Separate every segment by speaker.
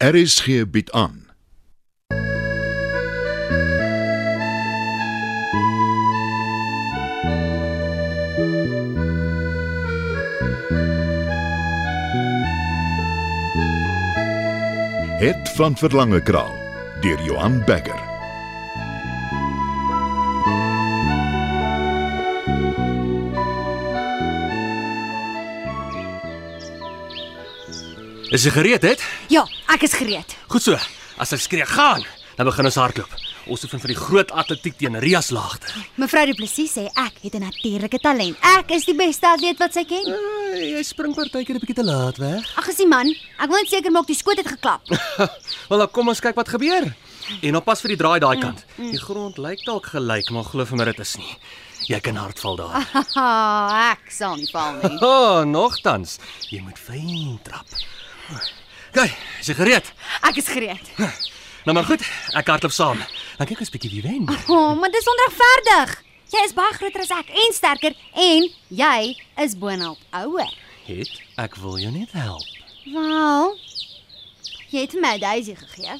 Speaker 1: RSG bied aan. Het van Verlange Kraal deur Johan Becker.
Speaker 2: Is jy gereed, het?
Speaker 3: Ja, ek is gereed.
Speaker 2: Goed so. As ek skree gaan, dan begin ons hardloop. Ons oefen vir die groot atletiek teen Rias Laagte.
Speaker 3: Mevrou Du Plessis sê ek het 'n natuurlike talent. Ek is die beste atleet wat sy ken.
Speaker 2: Uh, jy spring partykeer 'n bietjie te laat weg.
Speaker 3: Ag, is die man. Ek wou net seker maak die skoot het geklap.
Speaker 2: Wel, dan kom ons kyk wat gebeur. En oppas vir die draai daai kant. Die grond lyk dalk gelyk, maar glo vir my dit is nie. Jy kan hard val daar.
Speaker 3: Haha, ek sal nie val nie.
Speaker 2: O, oh, nogtans. Jy moet fyn trap. Kyk, is jy gereed?
Speaker 3: Ek is gereed.
Speaker 2: Nou maar goed, ek hardloop saam. Dan kyk ons bietjie wie wen.
Speaker 3: O, oh, maar dis onregverdig. Jy is baie groter as ek en sterker en jy is boonop ouer.
Speaker 2: Het ek wil jou net help.
Speaker 3: Wel. Jy het vir my 'n daisy gegee.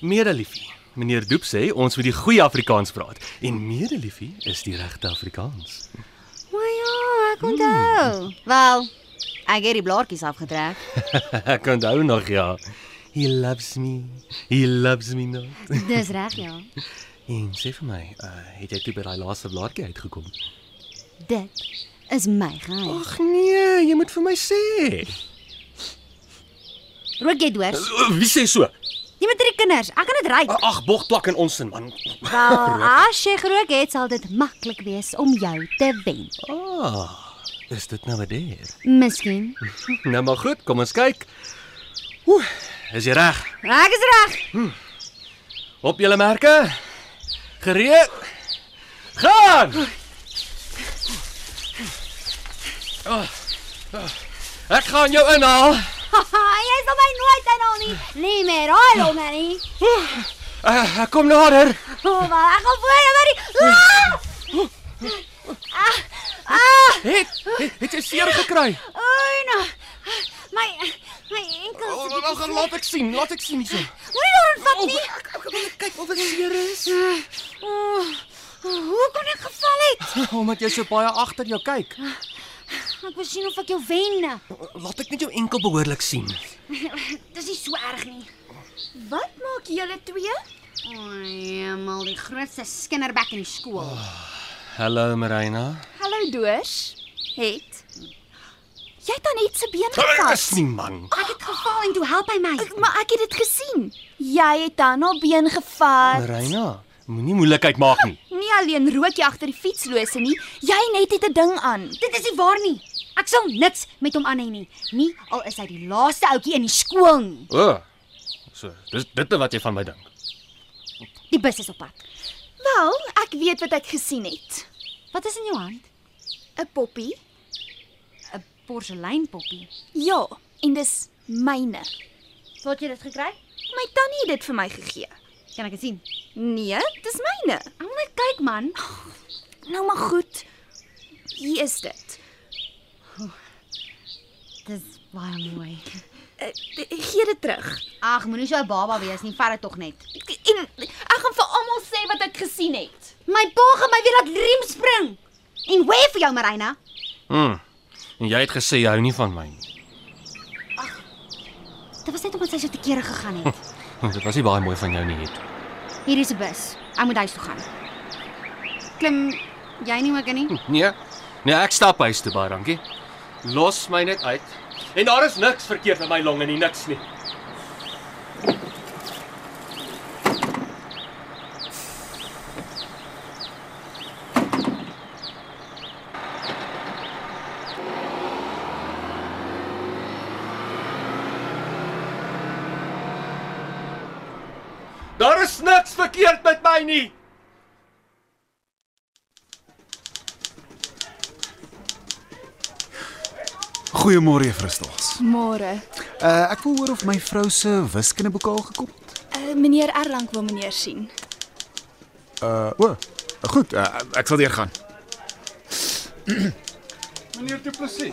Speaker 2: Medeliefie. Meneer Doep sê ons moet die goeie Afrikaans praat en medeliefie is die regte Afrikaans.
Speaker 3: Maar ja, ek onthou. Hmm. Wel, ek het die blaartjies afgetrek.
Speaker 2: Ek onthou nog ja. He loves me. He loves me not.
Speaker 3: Dis reg, ja.
Speaker 2: En sê vir my, uh, het jy toe by daai laaste blaartjie uitgekom?
Speaker 3: Dit is my geheim.
Speaker 2: Ag nee, jy moet vir my sê. Eh,
Speaker 3: Rook jy dors?
Speaker 2: Wie sê so?
Speaker 3: Jy met drie kinders. Ek kan dit ry.
Speaker 2: Ag, bog plak in ons sin man.
Speaker 3: Wel, as jy gerook het, sal dit maklik wees om jou te wen.
Speaker 2: Ah, is dit nou 'n deur?
Speaker 3: Miskien.
Speaker 2: Nou maar goed, kom ons kyk. Oeh, is jy reg?
Speaker 3: Ek is reg.
Speaker 2: Op julle merke. Gereed? Gaan! Ah, ah, Ek gaan jou inhaal.
Speaker 3: Haha, jy sal my nooit uithaal nie. Nee, meer haal hom nie.
Speaker 2: Uh, kom nader.
Speaker 3: Oh, maar ek gaan voor jou maar die. Ah! Ah! Ah!
Speaker 2: Het het, het jy seer gekry?
Speaker 3: Oei, nou. My my enkel.
Speaker 2: O, Oh, wel, wel, laat ek sien, laat ek sien hierso.
Speaker 3: Moenie daarin vat nie.
Speaker 2: Kyk of ek seer is.
Speaker 3: Oh, hoe kon ek geval het?
Speaker 2: Omdat jy so baie agter jou kyk.
Speaker 3: Ek wil sien of ek jou wen.
Speaker 2: Laat ek net jou enkel behoorlik sien.
Speaker 3: Dis nie so erg nie. Wat maak julle twee? Eenmal die grootste skinderbek in die skool.
Speaker 4: Ah.
Speaker 2: Hallo Marina.
Speaker 3: Hallo Doors. Het. Jy het aan iets se been
Speaker 2: Is nie man.
Speaker 3: Ek het geval en toe help hy my.
Speaker 4: Maar ek het dit gesien. Jy het dan haar been gevat.
Speaker 2: Marina, moenie moeilikheid maak nie.
Speaker 4: Nie alleen rook jy agter die fietslose nie, jy net het 'n ding aan.
Speaker 3: Dit is nie waar nie. Ek sal niks met hom aan hê nie. Nie al is hy die laaste ouetjie in die skool nie.
Speaker 2: O. Oh, so, dis dit wat jy van my dink.
Speaker 3: Die bus is op pad.
Speaker 4: Wel, ek weet wat ek gesien het.
Speaker 3: Wat is in jou hand?
Speaker 4: 'n Poppie?
Speaker 3: 'n Porseleinpoppie.
Speaker 4: Ja, en dis myne.
Speaker 3: Waar het jy dit gekry?
Speaker 4: My tannie het dit vir my gegee.
Speaker 3: Kan ek dit sien?
Speaker 4: Nee, dis myne.
Speaker 3: Ek wil net kyk man.
Speaker 4: Nou maar goed. Hier is dit.
Speaker 3: Dis baie mooi.
Speaker 4: Uh, gee dit terug.
Speaker 3: Ag, moenie so 'n baba wees nie. Vat dit tog net.
Speaker 4: En ek gaan vir almal sê wat ek gesien het.
Speaker 3: My pa gaan my weer laat riem spring. En hoe vir jou, Marina?
Speaker 2: Hm. En jy het gesê jy hou nie van my nie.
Speaker 3: Dit was net omdat sy so te kere gegaan het.
Speaker 2: Dit was nie baie mooi van jou nie het.
Speaker 3: Hier is 'n bus. Ek moet huis toe gaan. Klim jy nie ook in nie?
Speaker 2: Nee. Nee, ek stap huis toe baie dankie. Los my net uit. En daar is niks verkeerd met my longe nie, niks nie. Daar is niks verkeerd met my nie.
Speaker 5: Goeiemôre Juffrou Stols.
Speaker 4: Môre.
Speaker 5: Uh ek wil hoor of my vrou se wiskundeboek al gekom het.
Speaker 4: Uh, meneer Erlang wil meneer sien.
Speaker 5: Uh o. Oh, goed, uh, ek sal deur gaan.
Speaker 6: Meneer Du Plessis,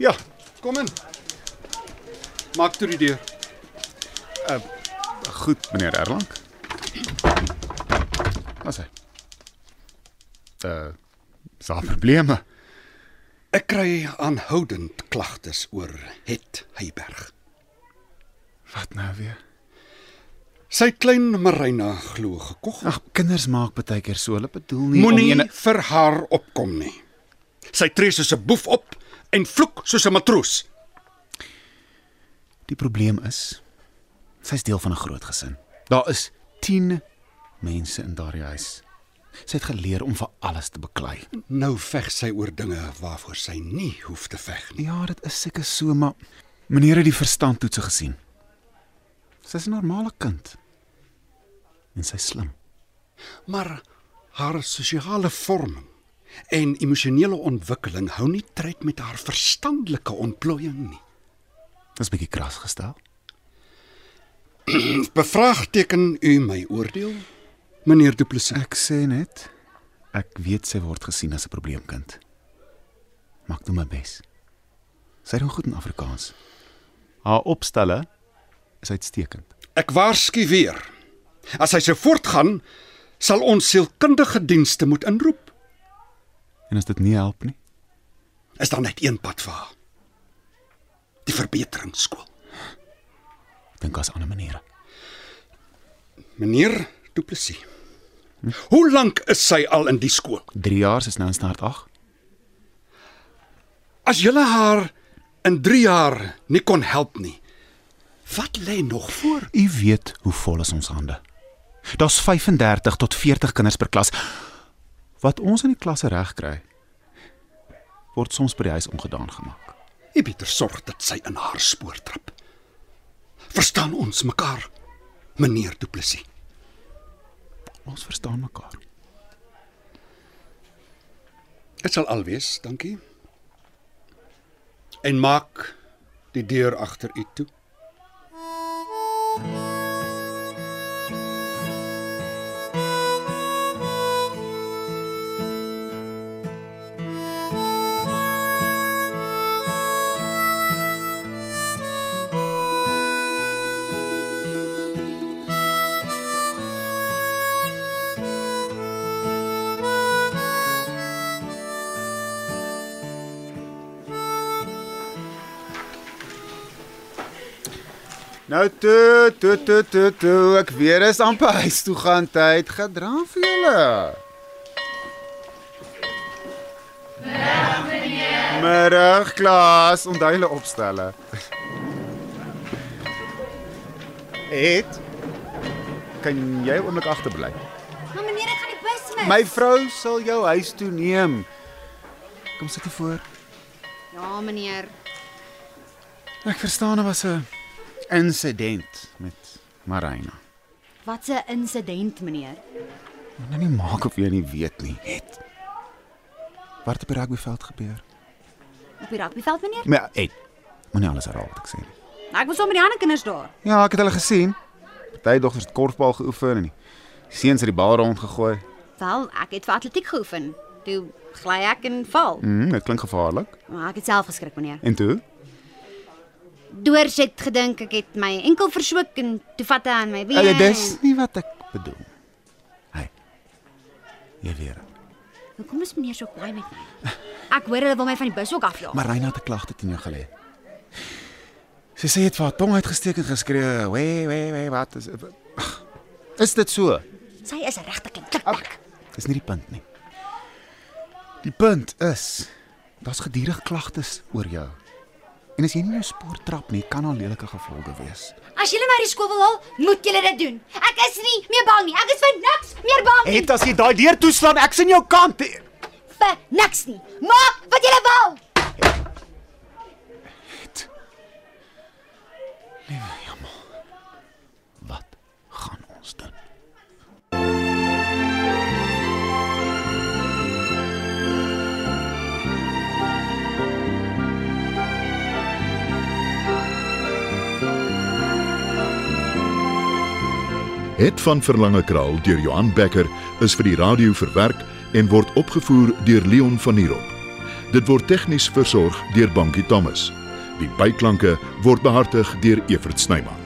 Speaker 5: Ja.
Speaker 6: kom in. Maak toe die deur.
Speaker 5: Eh, Goed, meneer Erlang. Wat sê? Uh, is daar probleme?
Speaker 6: Ek kry aanhoudend klagtes oor Het Heyberg.
Speaker 5: Wat nou weer?
Speaker 6: Sy klein Marina glo gekog.
Speaker 5: Ag, kinders maak baie keer so. Hulle bedoel nie
Speaker 6: Moenie
Speaker 5: om
Speaker 6: vir haar opkom nie. Sy tree soos 'n boef op en vloek soos 'n matroos.
Speaker 5: Die probleem is sy's deel van 'n groot gesin. Daar is 10 mense in daardie huis. Sy het geleer om vir alles te beklei.
Speaker 6: Nou veg sy oor dinge waarvoor sy nie hoef te veg nie.
Speaker 5: Ja, dit is seker so, maar meneer het die verstandtoetse gesien. Sy's 'n normale kind. En sy's slim.
Speaker 6: Maar haar sosiale vorming en emosionele ontwikkeling hou nie tred met haar verstandelike ontplooiing nie.
Speaker 5: Dis bietjie kras gestel.
Speaker 6: Bevraagteken u my oordeel, meneer Du Plessis?
Speaker 5: Ek sê net ek weet sy word gesien as 'n probleemkind. Maak doen my bes. Sy doen goed in Afrikaans. Haar opstelle is uitstekend.
Speaker 6: Ek waarsku weer. As hy so voortgaan, sal ons sielkundige dienste moet inroep.
Speaker 5: En as dit nie help nie,
Speaker 6: Is daar net een pad vir haar? Die verbeteringsskool.
Speaker 5: dink daar's ander maniere.
Speaker 6: Meneer Du Plessis. Hoe lank is sy al in die skool?
Speaker 5: 3 jaar is nou in staat 8.
Speaker 6: As julle haar in 3 jaar nie kon help nie. Wat lê nog voor?
Speaker 5: U weet hoe vol is ons hande. Daar's 35 tot 40 kinders per klas. Wat ons in die klasse reg kry, word soms by die huis ongedaan gemaak.
Speaker 6: Jy beter sorg dat sy in haar spoor trap. Verstaan ons mekaar, meneer Du Plessis?
Speaker 5: Ons verstaan mekaar.
Speaker 6: Dit sal al wees, dankie. En maak die deur agter u toe.
Speaker 5: Nou toe, toe, toe, toe, toe. Ek weer is amper huis toe gaan tyd. Gedra vir julle. Middag klas, onthou julle opstelle. Et. Kan jy 'n oomblik agterbly?
Speaker 4: Maar meneer, ek gaan die bus mis.
Speaker 5: My vrou sal jou huis toe neem. Kom sit hier voor.
Speaker 3: Ja, meneer.
Speaker 5: Ek verstaan daar was 'n insident met Marina.
Speaker 3: Wat 'n insident, meneer.
Speaker 5: Moet nou nie maak of jy nie weet nie. Het. Wat het op die rugbyveld gebeur?
Speaker 3: Op die rugbyveld, meneer?
Speaker 5: Maar het. Moenie alles herhaal wat ek sê nie.
Speaker 3: Nou, ek was saam met die ander kinders daar.
Speaker 5: Ja, ek het hulle gesien. Party dogters het korfbal geoefen en die seuns het die bal rondgegooi.
Speaker 3: Wel, ek het vir atletiek geoefen. Toe gly ek en val.
Speaker 5: Mm, dit klink gevaarlik.
Speaker 3: Maar ek het self geskrik, meneer.
Speaker 5: En toe?
Speaker 3: Doors het gedink ek het my enkel verswik en toe vat hy aan my been.
Speaker 5: Hulle Ja, dis nie wat ek bedoel. Hey. Jy weer.
Speaker 3: Hoekom is meneer so kwaai met my? Ek hoor hulle wil my van die bus ook afjaag.
Speaker 5: Maar Reina het 'n klagte teen jou gelê. Sy sê jy het vir haar tong uitgesteek en geskree, "Wee, wee, wee, wat is Ag, Is dit so?
Speaker 3: Sy is regtig 'n
Speaker 5: Ah.
Speaker 3: klikpak.
Speaker 5: Dis nie die punt nie. Die punt is daar's gedurig klagtes oor jou. En as jy nie jou spoor trap nie, kan daar lelike gevolge wees.
Speaker 4: As julle my uit die skool wil haal, moet julle dit doen. Ek is nie meer bang nie. Ek is vir niks meer bang nie.
Speaker 5: Het as jy daai deur toeslaan, ek's aan jou kant.
Speaker 4: Vir niks nie. Maak wat julle wil.
Speaker 5: Wat gaan ons doen?
Speaker 1: Het van Verlange Kraal deur Johan Becker is vir die radio verwerk en word opgevoer deur Leon Van Heerop. Dit word tegnies versorg deur Bankie Thomas. Die byklanke word behartig deur Evert Snyman.